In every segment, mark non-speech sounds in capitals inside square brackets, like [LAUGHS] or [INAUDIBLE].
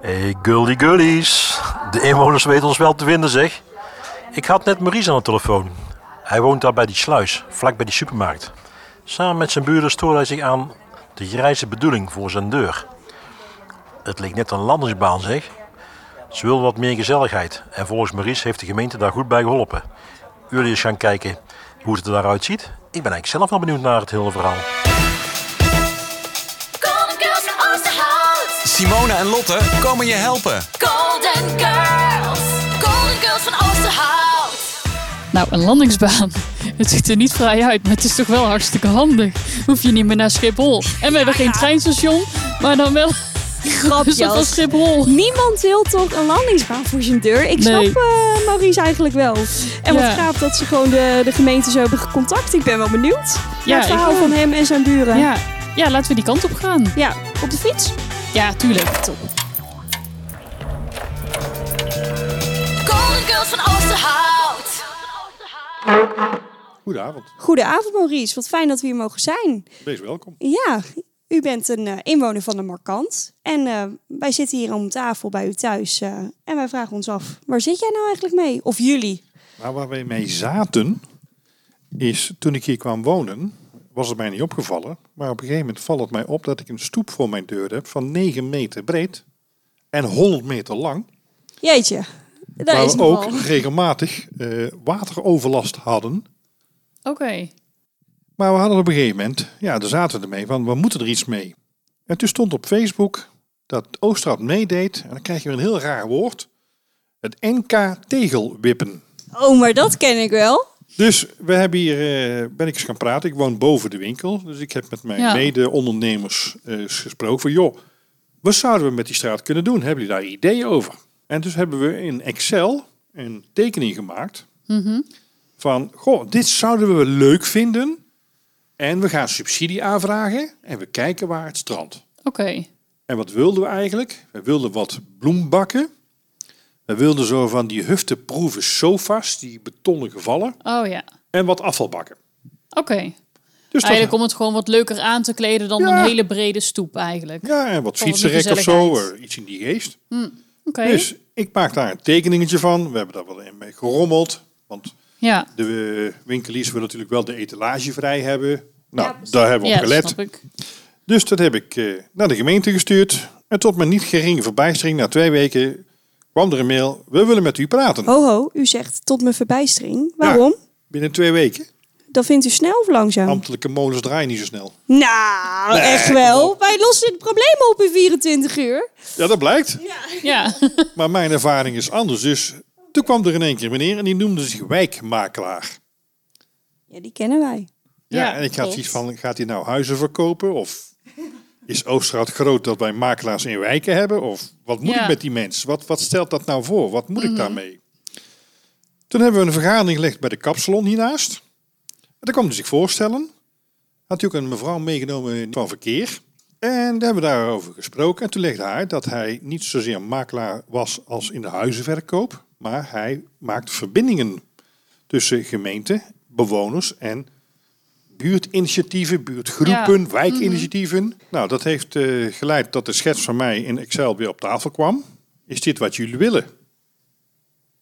Hey, gully gullies. De inwoners weten ons wel te vinden, zeg. Ik had net Maurice aan de telefoon. Hij woont daar bij die sluis, vlak bij die supermarkt. Samen met zijn buren stoorde hij zich aan de grijze bedoeling voor zijn deur. Het leek net een landingsbaan, zeg. Ze wilden wat meer gezelligheid en volgens Maurice heeft de gemeente daar goed bij geholpen. Jullie eens gaan kijken hoe het er daaruit ziet. Ik ben eigenlijk zelf wel benieuwd naar het hele verhaal. Golden Girls van Oosterhout. Simone en Lotte komen je helpen. Golden Girls. Golden Girls van Oosterhout. Nou, een landingsbaan. [LAUGHS] Het ziet er niet vrij uit, maar het is toch wel hartstikke handig. Hoef je niet meer naar Schiphol. En we hebben geen treinstation, maar dan wel [LAUGHS] een soort van Grapjes. Schiphol. Niemand wil toch een landingsbaan voor zijn deur? Ik Nee. snap eh, Maurice eigenlijk wel. En Ja. wat gaaf dat ze gewoon de, de gemeente zo hebben gecontact. Ik ben wel benieuwd Ja, naar het ik verhaal ook. van hem en zijn buren. Ja. ja, laten we die kant op gaan. Ja, op de fiets. Ja, tuurlijk. Golden Girls van Oosterhout. Goedenavond, Goedenavond Maurice, wat fijn dat we hier mogen zijn. wees welkom. Ja, u bent een eh, inwoner van de Markant. En eh, wij zitten hier om tafel bij u thuis. eh, en wij vragen ons af, waar zit jij nou eigenlijk mee? Of jullie? Maar waar wij mee zaten, is toen ik hier kwam wonen, was het mij niet opgevallen. Maar op een gegeven moment valt het mij op dat ik een stoep voor mijn deur heb van 9 meter breed en 100 meter lang. Jeetje, daar waar is we nogal. Nou, ook regelmatig eh, wateroverlast hadden. Oké. Maar we hadden op een gegeven moment, ja, daar zaten we ermee van, we moeten er iets mee. En toen stond op Facebook dat Oostrad meedeed, en dan krijg je weer een heel raar woord, het NK tegelwippen. Oh, maar dat ken ik wel. Dus we hebben hier, eh, ben ik eens gaan praten. Ik woon boven de winkel. Dus ik heb met mijn Ja. mede-ondernemers eh, eens gesproken van... joh, wat zouden we met die straat kunnen doen? Hebben jullie daar ideeën over? En dus hebben we in Excel een tekening gemaakt... van, goh, dit zouden we leuk vinden... en we gaan subsidie aanvragen en we kijken waar het strandt. Oké. En wat wilden we eigenlijk? We wilden wat bloembakken. We wilden zo van die hufteproeve sofa's, die betonnen gevallen... Oh ja. En wat afvalbakken. Oké. Dus dat- Eigenlijk om het gewoon wat leuker aan te kleden dan Ja. een hele brede stoep eigenlijk. ja, en wat Voor wat fietsenrek of zo, gezelligheid. eh, iets in die geest. Oké. Dus ik maak daar een tekeningetje van. We hebben daar wel in mee gerommeld. Want ja. de eh, winkeliers willen natuurlijk wel de etalage vrij hebben. Nou, precies. daar hebben Ja, we op dat gelet. snap ik. Dus dat heb ik eh, naar de gemeente gestuurd. En tot mijn niet geringe verbijstering, na twee weken kwam er een mail. We willen met u Oh. praten. Ho, ho, u zegt tot mijn verbijstering. Waarom? Ja, binnen twee weken. Dat vindt u snel of langzaam? Ambtelijke molens draaien niet zo snel. nou, echt wel. Wij lossen het probleem op in 24 uur. Ja, dat blijkt. Ja. [LAUGHS] Maar mijn ervaring is anders. Dus toen kwam er in één keer een meneer en die noemde zich wijkmakelaar. Ja, die kennen wij. Ja, Ja, en ik had klopt. zoiets van, gaat hij nou huizen verkopen? Of is Oosterhout groot dat wij makelaars in wijken hebben? Of wat moet Ja. Mhm. ik met die mensen? Wat, wat stelt dat nou voor? Wat moet ik daarmee? Toen hebben we een vergadering gelegd bij de kapsalon hiernaast. En daar kwam hij zich voorstellen. Had hij ook een mevrouw meegenomen van verkeer. En daar hebben we daarover gesproken. En toen legde hij uit dat hij niet zozeer makelaar was als in de huizenverkoop. Maar hij maakt verbindingen tussen gemeenten, bewoners en buurtinitiatieven, buurtgroepen, wijkinitiatieven. Nou, dat heeft eh, geleid dat de schets van mij in Excel weer op tafel kwam. Is dit wat jullie willen?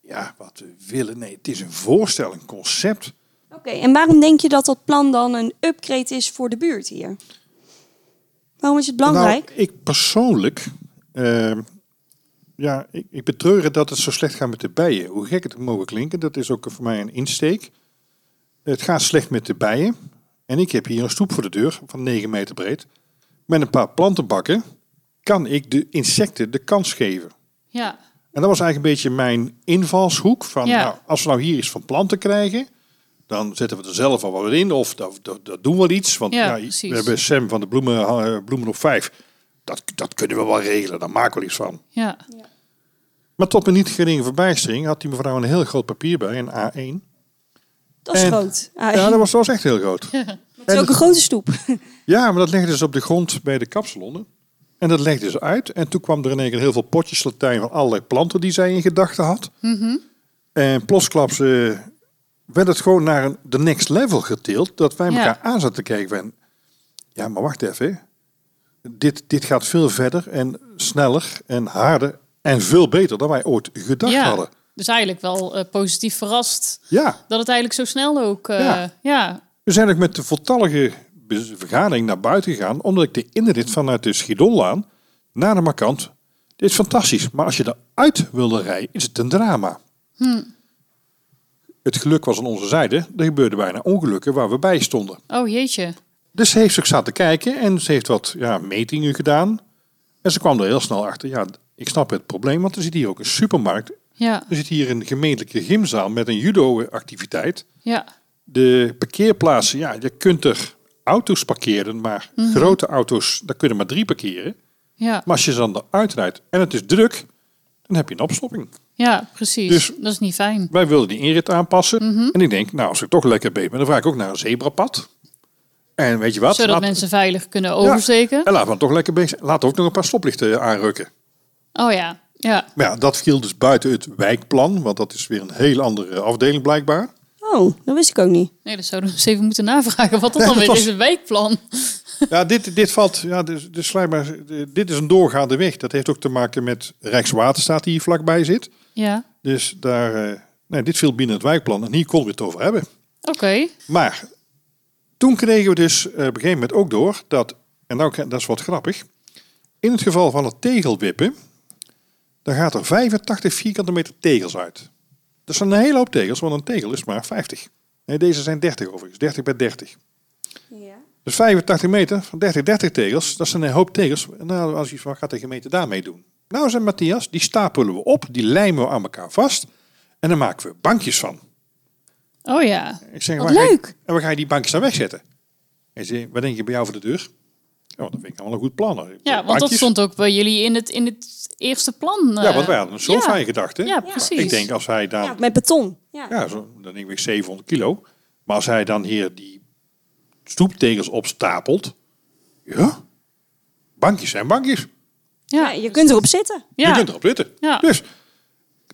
Ja, wat we willen? Nee, het is een voorstel, een concept. Oké, en waarom denk je dat dat plan dan een upgrade is voor de buurt hier? Waarom is het belangrijk? Nou, ik persoonlijk, eh, ja, ik, ik betreur het dat het zo slecht gaat met de bijen. Hoe gek het mogen klinken, dat is ook voor mij een insteek. Het gaat slecht met de bijen. En ik heb hier een stoep voor de deur van 9 meter breed. Met een paar plantenbakken kan ik de insecten de kans geven. Ja. En dat was eigenlijk een beetje mijn invalshoek. Van, Ja. nou, als we nou hier iets van planten krijgen, dan zetten we er zelf al wat in. Of dat, dat, dat doen we wel iets. Want Ja, ja, precies. we hebben Sam van de Bloemen, eh, bloemen op vijf. Dat, dat kunnen we wel regelen, daar maken we iets van. Ja. Maar tot mijn niet geringe verbijstering had die mevrouw een heel groot papier bij, een A1. dat is en- groot. Ah, Ja, dat was, dat was echt heel groot. het is ook een grote stoep. [LAUGHS] Ja, maar dat legden ze op de grond bij de kapsalonnen. En dat legden ze uit. En toen kwam er in één keer heel veel potjes Latijn van allerlei planten die zij in gedachten had. En plotsklaps eh, werd het gewoon naar een, de next level getild. Dat wij Ja. elkaar aan zaten te kijken van... Ja, maar wacht even. dit, dit gaat veel verder en sneller en harder en veel beter dan wij ooit gedacht hadden. dus eigenlijk wel eh, positief verrast Ja, dat het eigenlijk zo snel ook... eh, Ja. ja. we zijn ook met de voltallige bez- vergadering naar buiten gegaan, omdat ik de inrit vanuit de Schidollaan naar de Markant, dit is fantastisch, maar als je eruit wilde rijden, is het een drama. Het geluk was aan onze zijde, er gebeurden bijna ongelukken waar we bij stonden. Oh jeetje. Dus ze heeft ook zaten kijken en ze heeft wat ja, metingen gedaan. En ze kwam er heel snel achter. Ja, ik snap het probleem, want er zit hier ook een supermarkt. Ja, Er zit hier een gemeentelijke gymzaal met een judo-activiteit. ja. De parkeerplaatsen, ja, je kunt er auto's parkeren, maar Mhm. grote auto's, daar kunnen maar drie parkeren. Ja, Maar als je ze dan eruit rijdt en het is druk, dan heb je een opstopping. ja, precies. Dus- dat is niet fijn. Wij wilden die inrit aanpassen. Mhm. En ik denk, nou, als ik toch lekker bezig ben, dan vraag ik ook naar een zebrapad. En weet je wat? Zodat Laat- mensen veilig kunnen Ja. oversteken. En laten we dan toch lekker bezig zijn. Laten we ook nog een paar stoplichten aanrukken. Oh ja, ja. Maar ja, dat viel dus buiten het wijkplan, want dat is weer een hele andere afdeling blijkbaar. Oh, dat wist ik ook niet. Nee, dat zouden we eens even moeten navragen. Wat dat Ja, dan dat weer was- is, een wijkplan. Ja, dit, dit valt, ja, dus, dus blijkbaar, dit is een doorgaande weg. Dat heeft ook te maken met Rijkswaterstaat die hier vlakbij zit. Ja, Dus daar, eh, nee, dit viel binnen het wijkplan en hier konden we het over hebben. oké. Maar toen kregen we dus eh, op een gegeven moment ook door dat, en nou, dat is wat grappig, in het geval van het tegelwippen, dan gaat er 85 vierkante meter tegels uit. Dat zijn een hele hoop tegels, want een tegel is maar 50. Nee, deze zijn 30 overigens, 30 bij 30. Dus 85 meter van 30, 30 tegels, dat zijn een hoop tegels. Nou, als je van gaat de gemeente daarmee doen. Nou, zei Matthias, die stapelen we op, die lijmen we aan elkaar vast en dan maken we bankjes van. Oh ja. Ik zeg, Wat waar ga je- leuk. en waar ga je die bankjes dan wegzetten? Hij zei, wat denk je bij jou voor de deur? Ja, dat vind ik allemaal een goed Ja, plan. want dat Bankjes. stond ook bij jullie in het, in het eerste plan. Ja, eh. want wij hadden een sofa ja. in gedachten. Ja, precies. Ik denk, als hij dan... Ja, met beton. Ja. Ja, zo, dan denk ik 700 kilo. Maar als hij dan hier die stoeptegels opstapelt... Ja, bankjes zijn bankjes. Ja, Ja, je kunt erop zitten. Je ja. kunt erop zitten. Ja. Dus,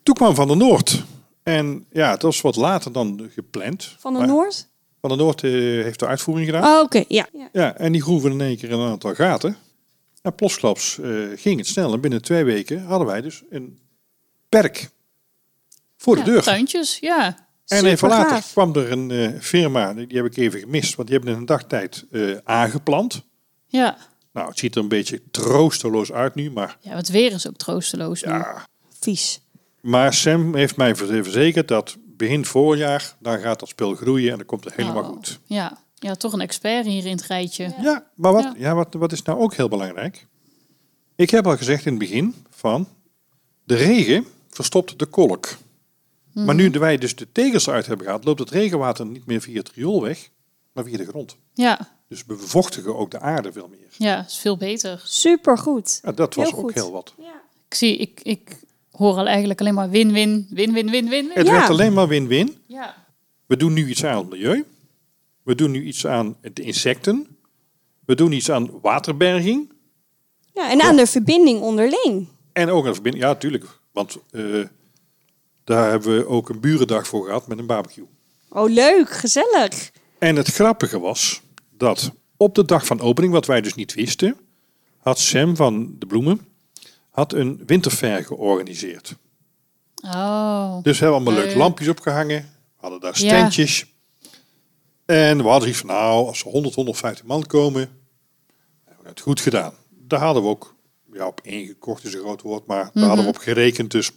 toen kwam Van der Noord. En ja, het was wat later dan gepland. Van de Maar Noord. Van der Noord eh, heeft de uitvoering gedaan. Oh, oké. Ja. ja. Ja, en die groeven in één keer een aantal gaten. En plotsklaps eh, ging het snel. En binnen twee weken hadden wij dus een perk voor de Ja, deur. Tuintjes, ja. En even Supergaaf. later kwam er een eh, firma, die die heb ik even gemist, want die hebben in een dagtijd eh aangeplant. Ja. Nou, het ziet er een beetje troosteloos uit nu, maar, Ja, want het weer is ook troosteloos nu. ja. Vies. maar Sam heeft mij ver- verzekerd dat begin voorjaar, dan gaat dat spul groeien en dan komt het helemaal Oh. goed. Ja. ja, toch een expert hier in het rijtje. Ja, maar wat, Ja. ja. wat, wat is nou ook heel belangrijk? Ik heb al gezegd in het begin van de regen verstopt de kolk. Maar nu Mhm. wij dus de tegels eruit hebben gehaald, loopt het regenwater niet meer via het riool weg, maar via de grond. Ja, Dus we bevochtigen ook de aarde veel meer. ja is veel beter. Supergoed. Ja, dat was Heel ook goed. heel wat. Ik zie, ik, ik hoor al eigenlijk alleen maar win-win, win-win-win-win. Het Ja. werd alleen maar win-win. Ja. We doen nu iets aan het milieu. We doen nu iets aan de insecten. We doen iets aan waterberging. Ja, en aan de verbinding onderling. En ook een verbinding. Ja, tuurlijk. Want eh, daar hebben we ook een burendag voor gehad met een barbecue. Oh, leuk. Gezellig. En het grappige was dat op de dag van opening, wat wij dus niet wisten, had Sam van de Bloemen had een winterfair georganiseerd. Oh, Dus we hebben allemaal Leuk. leuke lampjes opgehangen. We hadden daar Ja. standjes. En we hadden iets van, nou, als er 100, 150 man komen, hebben we het goed gedaan. Daar hadden we ook ja, op ingekocht, is een groot woord, maar daar hadden we op gerekend. Dus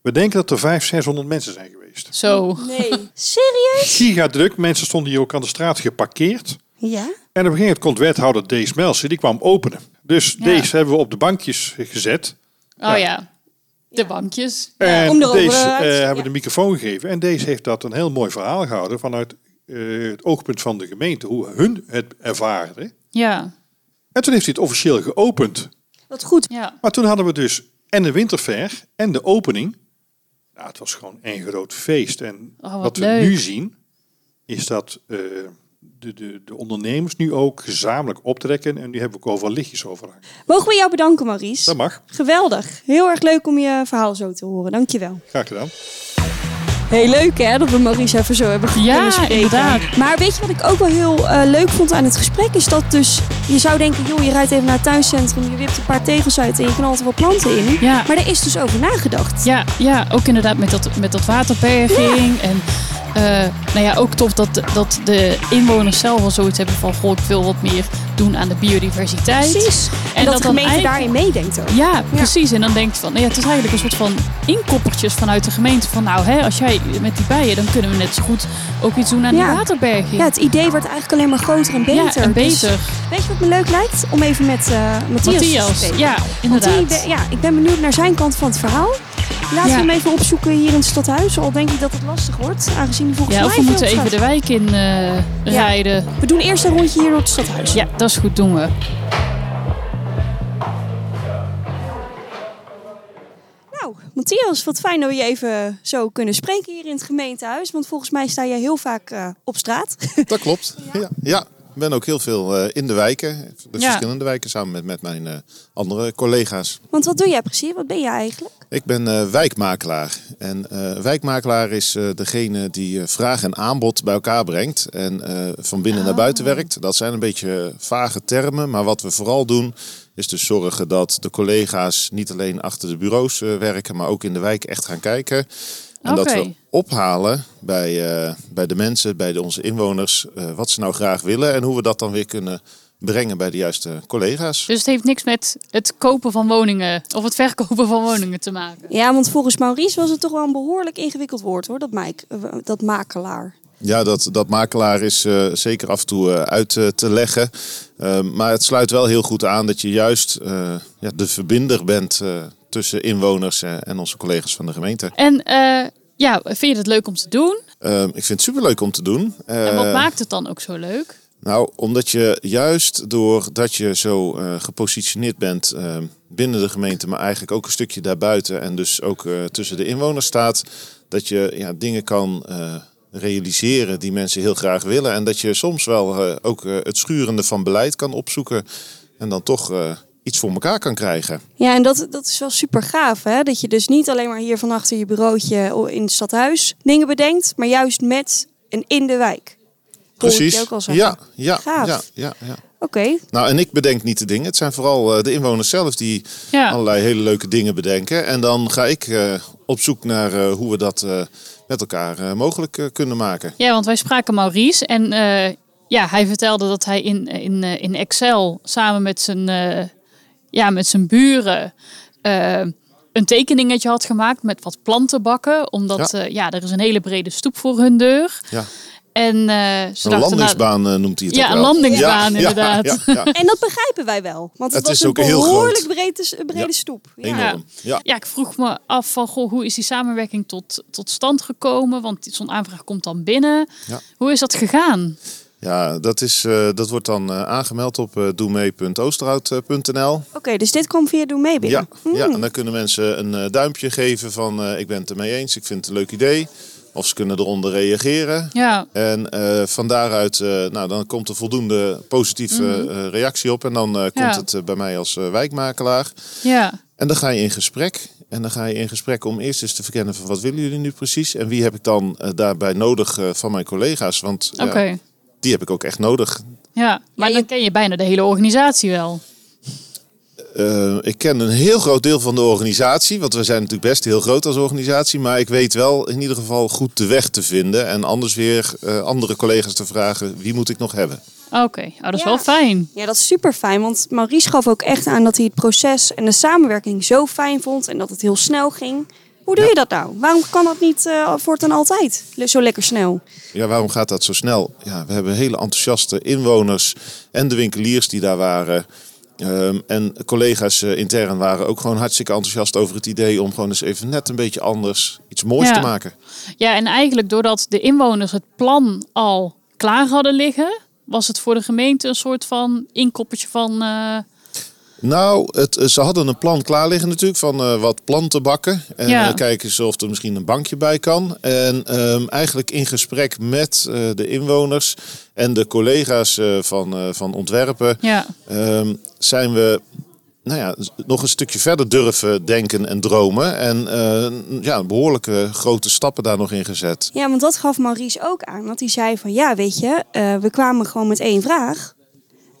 we denken dat er 500, 600 mensen zijn geweest. zo. Nee. [LAUGHS] Serieus? Giga druk, mensen stonden hier ook aan de straat geparkeerd. Ja? En op een gegeven moment komt wethouder Dees Melsen, die kwam openen. Dus deze hebben we op de bankjes gezet. Oh ja, de bankjes. Ja, en om erover deze uit- eh, ja. hebben de microfoon gegeven. En deze heeft dat een heel mooi verhaal gehouden vanuit eh, het oogpunt van de gemeente, hoe hun het ervaren. Ja, En toen heeft hij het officieel geopend. Wat goed. ja. Maar toen hadden we dus en de winterfair en de opening. Nou, het was gewoon één groot feest. En Oh, wat wat, we leuk. nu zien, is dat eh, de, de, de ondernemers nu ook gezamenlijk optrekken. En nu hebben we ook overal lichtjes over. Mogen we jou bedanken, Maurice? Dat mag. Geweldig. Heel erg leuk om je verhaal zo te horen. Dankjewel. Graag gedaan. Heel leuk hè, dat we Maurice even zo hebben Ja, kunnen spreken. inderdaad. Maar weet je wat ik ook wel heel eh, leuk vond aan het gesprek? Is dat dus, je zou denken, joh, je rijdt even naar het tuincentrum, je wipt een paar tegels uit en je knalt er wat planten in. Ja. Maar er is dus over nagedacht. Ja, ja ook inderdaad met dat, met dat waterberging. En eh, nou ja, ook tof dat, de- dat de inwoners zelf al zoiets hebben van... Goh, ik wil wat meer doen aan de biodiversiteit. Precies. En, dat, de dan gemeente eigenlijk- daarin meedenkt ook. Ja, precies. En dan denkt van, nou ja, het is eigenlijk een soort van inkoppertjes vanuit de gemeente. Van nou, hè, als jij met die bijen, dan kunnen we net zo goed ook iets doen aan Ja. die waterberging. Ja, het idee wordt eigenlijk alleen maar groter en beter. Ja, en Dus beter. weet je wat me leuk lijkt? Om even met eh Matthias te Matthias, spreken. ja, Want inderdaad. die- ja, ik ben benieuwd naar zijn kant van het verhaal. Laten Ja. we hem even opzoeken hier in het stadhuis. Al denk ik dat het lastig wordt, aangezien hij volgens Ja, mij... of we moeten veel even de gaat. wijk in eh, rijden. We doen eerst een rondje hier door het stadhuis. Ja, dat is goed, doen we. Nou, Matthias, wat fijn dat we je even zo kunnen spreken hier in het gemeentehuis. Want volgens mij sta jij heel vaak eh, op straat. [LAUGHS] [LAUGHS] Dat klopt. Ja. Ja, ik ben ook heel veel eh, in de wijken. De Ja. verschillende wijken samen met, met mijn eh, andere collega's. want wat doe jij precies? Wat ben jij eigenlijk? Ik ben eh, wijkmakelaar. En eh, wijkmakelaar is eh, degene die eh, vraag en aanbod bij elkaar brengt. En eh, van binnen naar buiten werkt. Dat zijn een beetje eh, vage termen. Maar wat we vooral doen is dus zorgen dat de collega's niet alleen achter de bureaus eh, werken. Maar ook in de wijk echt gaan kijken. En dat Oké. we ophalen bij, eh, bij de mensen, bij de, onze inwoners. eh, wat ze nou graag willen. En hoe we dat dan weer kunnen brengen bij de juiste collega's. Dus het heeft niks met het kopen van woningen of het verkopen van woningen te maken. Ja, want volgens Maurice was het toch wel een behoorlijk ingewikkeld woord hoor, dat, mike- eh, dat makelaar. Ja, dat, dat makelaar is eh, zeker af en toe eh, uit eh, te leggen. Eh, maar het sluit wel heel goed aan dat je juist eh, ja, de verbinder bent eh, tussen inwoners eh, en onze collega's van de gemeente. En eh, ja, vind je het leuk om te doen? Eh, ik vind het superleuk om te doen. En wat Eh, maakt het dan ook zo leuk? Nou, omdat je juist doordat je zo eh, gepositioneerd bent eh, binnen de gemeente, maar eigenlijk ook een stukje daarbuiten en dus ook eh, tussen de inwoners staat, dat je ja, dingen kan eh, realiseren die mensen heel graag willen. En dat je soms wel eh, ook eh, het schurende van beleid kan opzoeken en dan toch eh, iets voor elkaar kan krijgen. Ja, en dat, dat is wel super gaaf, hè? Dat je dus niet alleen maar hier van achter je bureautje in het stadhuis dingen bedenkt, maar juist met en in de wijk. Hoor ik je ook al zeggen. Ja, ja, Gaaf. ja, ja, ja. Oké, Nou, en ik bedenk niet de dingen. Het zijn vooral eh, de inwoners zelf die Ja. allerlei hele leuke dingen bedenken. En dan ga ik eh, op zoek naar eh, hoe we dat eh, met elkaar eh, mogelijk eh, kunnen maken. Ja, want wij spraken Maurice en eh, ja, hij vertelde dat hij in, in, eh, in Excel samen met zijn, eh, ja, met zijn buren eh, een tekeningetje had gemaakt met wat plantenbakken. Omdat ja. Ja. ja, er is een hele brede stoep voor hun deur. Ja. En eh, ze Een dachten, nou, landingsbaan eh, noemt hij het Ja, ook een wel. landingsbaan, inderdaad. Ja, ja, ja. en dat begrijpen wij wel, want het, Het was is een ook heel groot. behoorlijk brede, brede Ja, stoep. Ja. nou, Enorm. Ja. ja, ik vroeg me af van, goh, hoe is die samenwerking tot, tot stand gekomen? Want zo'n aanvraag komt dan binnen. Ja. Hoe is dat gegaan? Ja, dat, is, eh, dat wordt dan eh, aangemeld op eh doemee.oosterhout.nl. Oké, dus dit kwam via Doe mee binnen. Hmm. Ja, Hmm. ja, en dan kunnen mensen een eh, duimpje geven van eh, ik ben het ermee eens, ik vind het een leuk idee. Of ze kunnen eronder reageren. Ja, En eh, van daaruit, eh, nou, dan komt er voldoende positieve eh, reactie op. En dan eh, komt Mhm. Ja. het eh, bij mij als eh, wijkmakelaar. ja. En dan ga je in gesprek. En dan ga je in gesprek om eerst eens te verkennen van wat willen jullie nu precies? En wie heb ik dan eh, daarbij nodig eh, van mijn collega's? Want ja, oké. die heb ik ook echt nodig. Ja, maar Ja, je- dan ken je bijna de hele organisatie wel. Eh, ik ken een heel groot deel van de organisatie. Want we zijn natuurlijk best heel groot als organisatie. Maar ik weet wel in ieder geval goed de weg te vinden. En anders weer eh, andere collega's te vragen, wie moet ik nog hebben? Oké, oh, dat is Ja. wel fijn. Ja, dat is super fijn, want Maurice gaf ook echt aan dat hij het proces en de samenwerking zo fijn vond en dat het heel snel ging. Hoe doe je dat nou? Waarom kan dat niet eh voortaan altijd le- zo lekker snel? Ja, waarom gaat dat zo snel? Ja, we hebben hele enthousiaste inwoners en de winkeliers die daar waren. Ehm, en collega's eh, intern waren ook gewoon hartstikke enthousiast over het idee om gewoon eens even net een beetje anders iets moois Ja. te maken. Ja, en eigenlijk doordat de inwoners het plan al klaar hadden liggen, was het voor de gemeente een soort van inkoppertje van. eh, Nou, het, ze hadden een plan klaar liggen natuurlijk van eh, wat plantenbakken. En Ja. eh, kijken ze of er misschien een bankje bij kan. En ehm, eigenlijk in gesprek met eh, de inwoners en de collega's eh, van, eh, van ontwerpen ja, Ehm, zijn we nou ja, nog een stukje verder durven denken en dromen. En eh, ja, behoorlijke grote stappen daar nog in gezet. Ja, want dat gaf Maurice ook aan. Want die zei van, ja, weet je, eh, we kwamen gewoon met één vraag.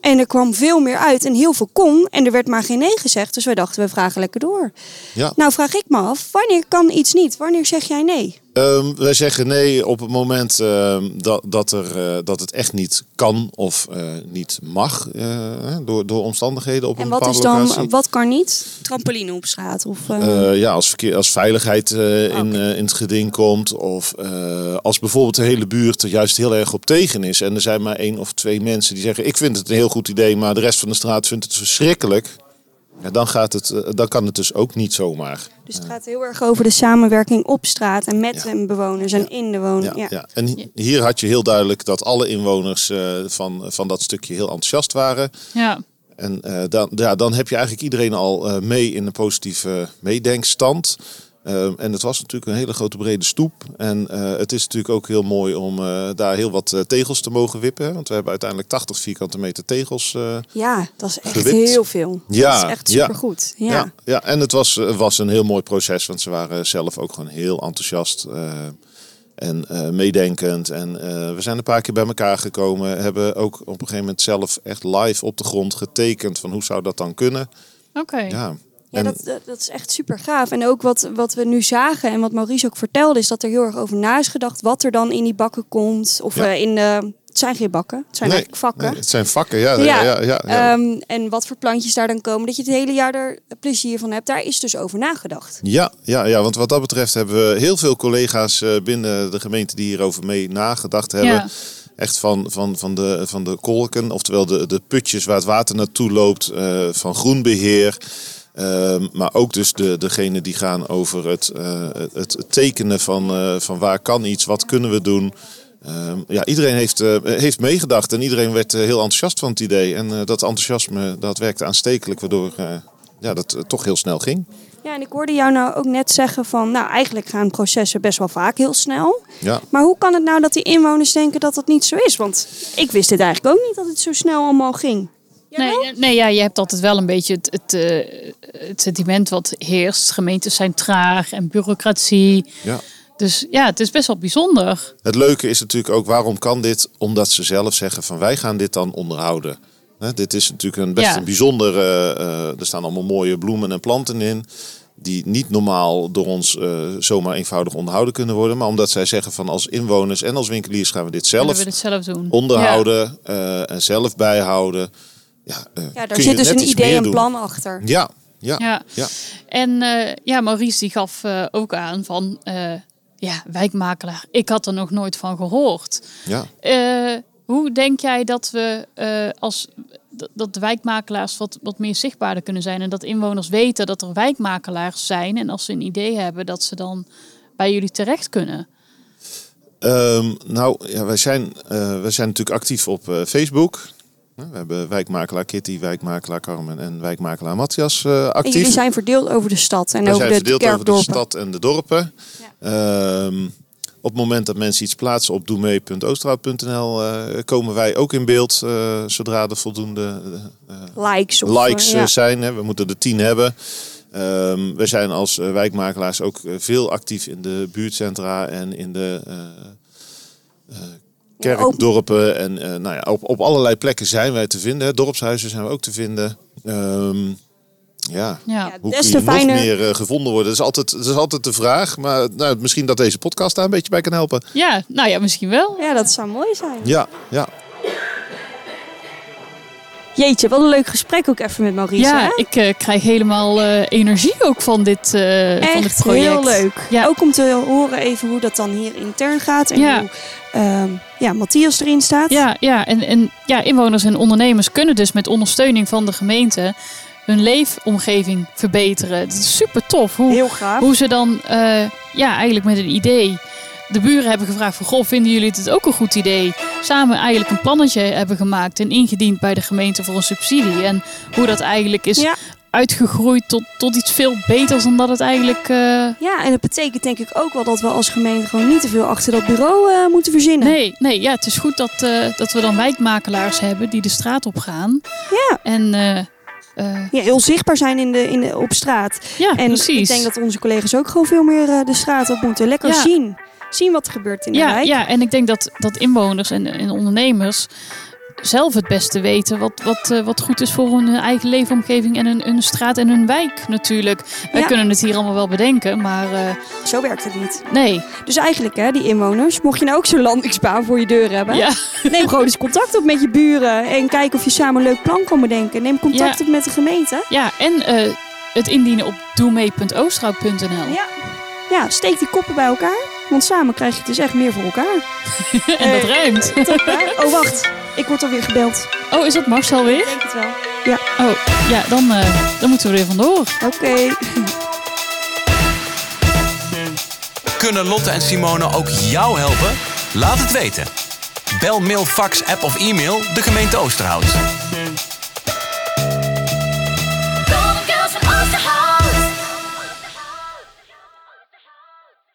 En er kwam veel meer uit en heel veel kon. En er werd maar geen nee gezegd. Dus wij dachten, we vragen lekker door. Ja. Nou vraag ik me af, wanneer kan iets niet? Wanneer zeg jij nee? Ehm, wij zeggen nee op het moment ehm, dat, dat, er, eh, dat het echt niet kan of eh, niet mag eh, hè, door, door omstandigheden op En een wat bepaalde is dan, locatie. wat kan niet? Trampoline op straat of... eh, Eh, ja, als, verkeer, als veiligheid eh, Ah, in, eh, in het geding komt. Of eh, als bijvoorbeeld de hele buurt er juist heel erg op tegen is. En er zijn maar één of twee mensen die zeggen: Ik vind het een heel goed idee, maar de rest van de straat vindt het verschrikkelijk. Ja, dan, gaat het, eh, dan kan het dus ook niet zomaar. Dus het gaat heel erg over de samenwerking op straat en met de bewoners en in de woning. Ja, Ja. ja. En hi- hier had je heel duidelijk dat alle inwoners eh, van, van dat stukje heel enthousiast waren. Ja. En eh, dan, ja, dan heb je eigenlijk iedereen al eh, mee in een positieve meedenkstand. Ehm, en het was natuurlijk een hele grote brede stoep. En eh, het is natuurlijk ook heel mooi om eh, daar heel wat eh, tegels te mogen wippen. hè. Want we hebben uiteindelijk 80 vierkante meter tegels. eh, Ja, dat is echt Gewipt. heel veel. Ja, dat is echt ja. supergoed. Ja. ja, ja, en het was, eh, was een heel mooi proces, want ze waren zelf ook gewoon heel enthousiast eh, en eh, meedenkend. En eh, we zijn een paar keer bij elkaar gekomen, hebben ook op een gegeven moment zelf echt live op de grond getekend van hoe zou dat dan kunnen. Oké. Ja, Ja, en, dat, dat, dat is echt super gaaf. En ook wat, wat we nu zagen en wat Maurice ook vertelde, is dat er heel erg over na is gedacht wat er dan in die bakken komt. Of Ja. eh, in de. Het zijn geen bakken, het zijn Nee, eigenlijk vakken. nee, het zijn vakken, ja. ja. ja, ja, ehm, en wat voor plantjes daar dan komen, dat je het hele jaar er plezier van hebt, daar is dus over nagedacht. Ja, ja, ja, want wat dat betreft hebben we heel veel collega's eh, binnen de gemeente die hierover mee nagedacht hebben. Ja. Echt van, van, van, de, van de kolken, oftewel de, de putjes waar het water naartoe loopt, eh, van groenbeheer. Ehm, maar ook dus de, degene die gaan over het, eh, het het tekenen van, eh, van waar kan iets, wat kunnen we doen. Ehm, ja, iedereen heeft, eh, heeft meegedacht en iedereen werd eh, heel enthousiast van het idee. En eh, dat enthousiasme dat werkte aanstekelijk, waardoor eh, ja, dat eh, toch heel snel ging. Ja, en ik hoorde jou nou ook net zeggen van, nou eigenlijk gaan processen best wel vaak heel snel. Ja. Maar hoe kan het nou dat die inwoners denken dat dat niet zo is? Want ik wist het eigenlijk ook niet dat het zo snel allemaal ging. Nee, nee ja, je hebt altijd wel een beetje het, het, eh, het sentiment wat heerst. Gemeentes zijn traag en bureaucratie. Ja. Dus ja, het is best wel bijzonder. Het leuke is natuurlijk ook waarom kan dit? Omdat ze zelf zeggen van wij gaan dit dan onderhouden. Hè, dit is natuurlijk een best Ja. een bijzonder. eh, eh, er staan allemaal mooie bloemen en planten in. Die niet normaal door ons eh, zomaar eenvoudig onderhouden kunnen worden. Maar omdat zij zeggen van als inwoners en als winkeliers gaan we dit En zelf we dus- het zelf doen. onderhouden eh, en zelf bijhouden. Ja, eh, Ja, kun daar je zit dus net een iets idee meer en doen. plan achter. Ja, ja, Ja. ja. ja. En eh, ja, Maurice die gaf eh, ook aan van... eh, ja, wijkmakelaar, ik had er nog nooit van gehoord. ja. Eh, hoe denk jij dat we eh, als dat- dat de wijkmakelaars wat, wat meer zichtbaarder kunnen zijn en dat inwoners weten dat er wijkmakelaars zijn en als ze een idee hebben dat ze dan bij jullie terecht kunnen? Ehm, nou, ja, wij, zijn, eh, wij zijn natuurlijk actief op eh, Facebook. We hebben wijkmakelaar Kitty, wijkmakelaar Carmen en wijkmakelaar Matthias eh, En actief. jullie zijn verdeeld over de stad en Wij over zijn de verdeeld over de kerkdorpen. stad en de dorpen. Ehm, op het moment dat mensen iets plaatsen op doemee.oosterhout.nl eh, komen wij ook in beeld eh, zodra er voldoende eh, Likes. Of, likes eh, eh, ja. zijn. Hè. We moeten er tien hebben. Ehm, we zijn als eh, wijkmakelaars ook eh, veel actief in de buurtcentra en in de eh, eh, kerkdorpen. En eh, nou ja, op, op allerlei plekken zijn wij te vinden. hè. Dorpshuizen zijn we ook te vinden. Ehm, ja. Ja, Ja, Hoe Des kun te je nog fijner. meer eh, gevonden worden? Dat is, altijd, dat is altijd de vraag. Maar nou, misschien dat deze podcast daar een beetje bij kan helpen. ja nou ja, misschien wel. ja, dat zou mooi zijn. Ja, ja. Jeetje, wat een leuk gesprek ook even met Maurice. hè? Ja, ik eh, krijg helemaal eh, energie ook van dit, eh, van dit Echt project. heel leuk. Ja. Ook om te horen even hoe dat dan hier intern gaat. En Ja. hoe ehm, ja, Matthias erin staat. Ja, ja en, en ja, inwoners en ondernemers kunnen dus met ondersteuning van de gemeente hun leefomgeving verbeteren. Het is super tof hoe, Heel gaaf. hoe ze dan eh, ja, eigenlijk met een idee. De buren hebben gevraagd van, goh, vinden jullie dit ook een goed idee? Samen eigenlijk een plannetje hebben gemaakt en ingediend bij de gemeente voor een subsidie. En hoe dat eigenlijk is Ja. uitgegroeid tot, tot iets veel beters dan dat het eigenlijk... eh, Ja, en dat betekent denk ik ook wel dat we als gemeente gewoon niet te veel achter dat bureau eh, moeten verzinnen. Nee, nee ja, het is goed dat, eh, dat we dan wijkmakelaars hebben die de straat op gaan. Ja. En eh, eh, Ja, heel zichtbaar zijn in de, in de, op straat. ja, en ik precies. denk dat onze collega's ook gewoon veel meer eh, de straat op moeten. Lekker Ja. zien. Zien wat er gebeurt in de ja, wijk. ja, en ik denk dat, dat inwoners en, en ondernemers zelf het beste weten wat, wat, eh, wat goed is voor hun eigen leefomgeving en hun, hun straat en hun wijk natuurlijk. Wij Ja. kunnen het hier allemaal wel bedenken, maar eh, Zo werkt het niet. nee. Dus eigenlijk, hè, die inwoners, mocht je nou ook zo'n landingsbaan voor je deur hebben, Ja. neem gewoon eens contact op met je buren en kijk of je samen een leuk plan kan bedenken. Neem contact Ja. op met de gemeente. ja, en eh, het indienen op doemee.oosterhout.nl. Ja. Ja, steek die koppen bij elkaar, want samen krijg je het dus echt meer voor [LAUGHS] elkaar. En dat ruimt. Hè? Oh, wacht. Ik word alweer gebeld. Oh, is dat Marcel weer? Ik denk het wel. Oh, ja, dan, eh, dan moeten we er weer vandoor. Oké. Kunnen Lotte en Simone ook jou helpen? Laat het weten. Bel, mail, fax, app of e-mail de gemeente Oosterhout. Golden Girls van Oosterhout.